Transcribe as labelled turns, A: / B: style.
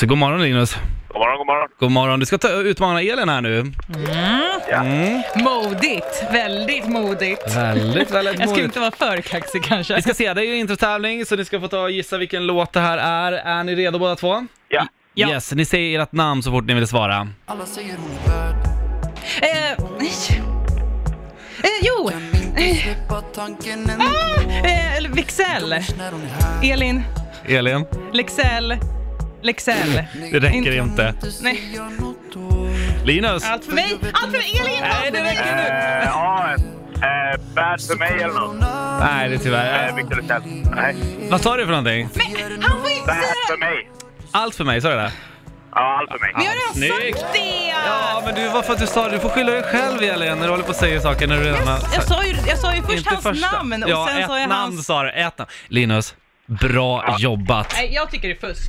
A: Så god morgon Linus.
B: God morgon, god morgon.
A: God morgon. Du ska ta, utmana elen här nu.
C: Modigt, väldigt modigt.
A: Väldigt, väldigt
C: Jag ska
A: modigt.
C: inte vara för kaxig kanske.
A: Vi ska se, det är ju introtävling så ni ska få ta och gissa vilken låt det här är. Är ni redo båda två?
B: Ja.
C: Ja.
A: Yes, ni säger ert namn så fort ni vill svara.
D: Alla säger hon är värd
C: Eh, nej. Eh, jo,
D: Kan inte släppa tanken en
C: eh, eller Vixell.
D: när hon är här
C: Elin,
A: Elin,
C: Lexell, Lexell.
A: det räcker inte.
C: Nej.
D: Gör något då
A: Linus,
C: Allt för mig, allt för mig, Elin!
A: Nej,
C: Allt
A: det
C: för
A: räcker.
C: mig.
B: Eh, ja, eh, bad för mig eller något.
A: nej det är tyvärr. Äh,
B: Eh, Victor Leksell. Nej,
A: Vad sa du för någonting?
C: Men han får inte
B: bad för
C: säga...
B: mig.
A: Allt för mig, sa du det?
B: Ja, allt för mig.
C: Men jag har redan
A: Snyggt.
C: sagt det!
A: Ja, men du, varför att du sa det? Du får skylla dig själv Elin när du håller på och säger saker när du redan har
C: Jag
A: sagt.
C: sa ju, jag sa ju först hans namn och
A: ja,
C: sen
A: ett
C: sa jag
A: namn
C: hans...
A: sa du. Ett namn. Linus, bra jobbat.
C: Nej, jag tycker det är fusk.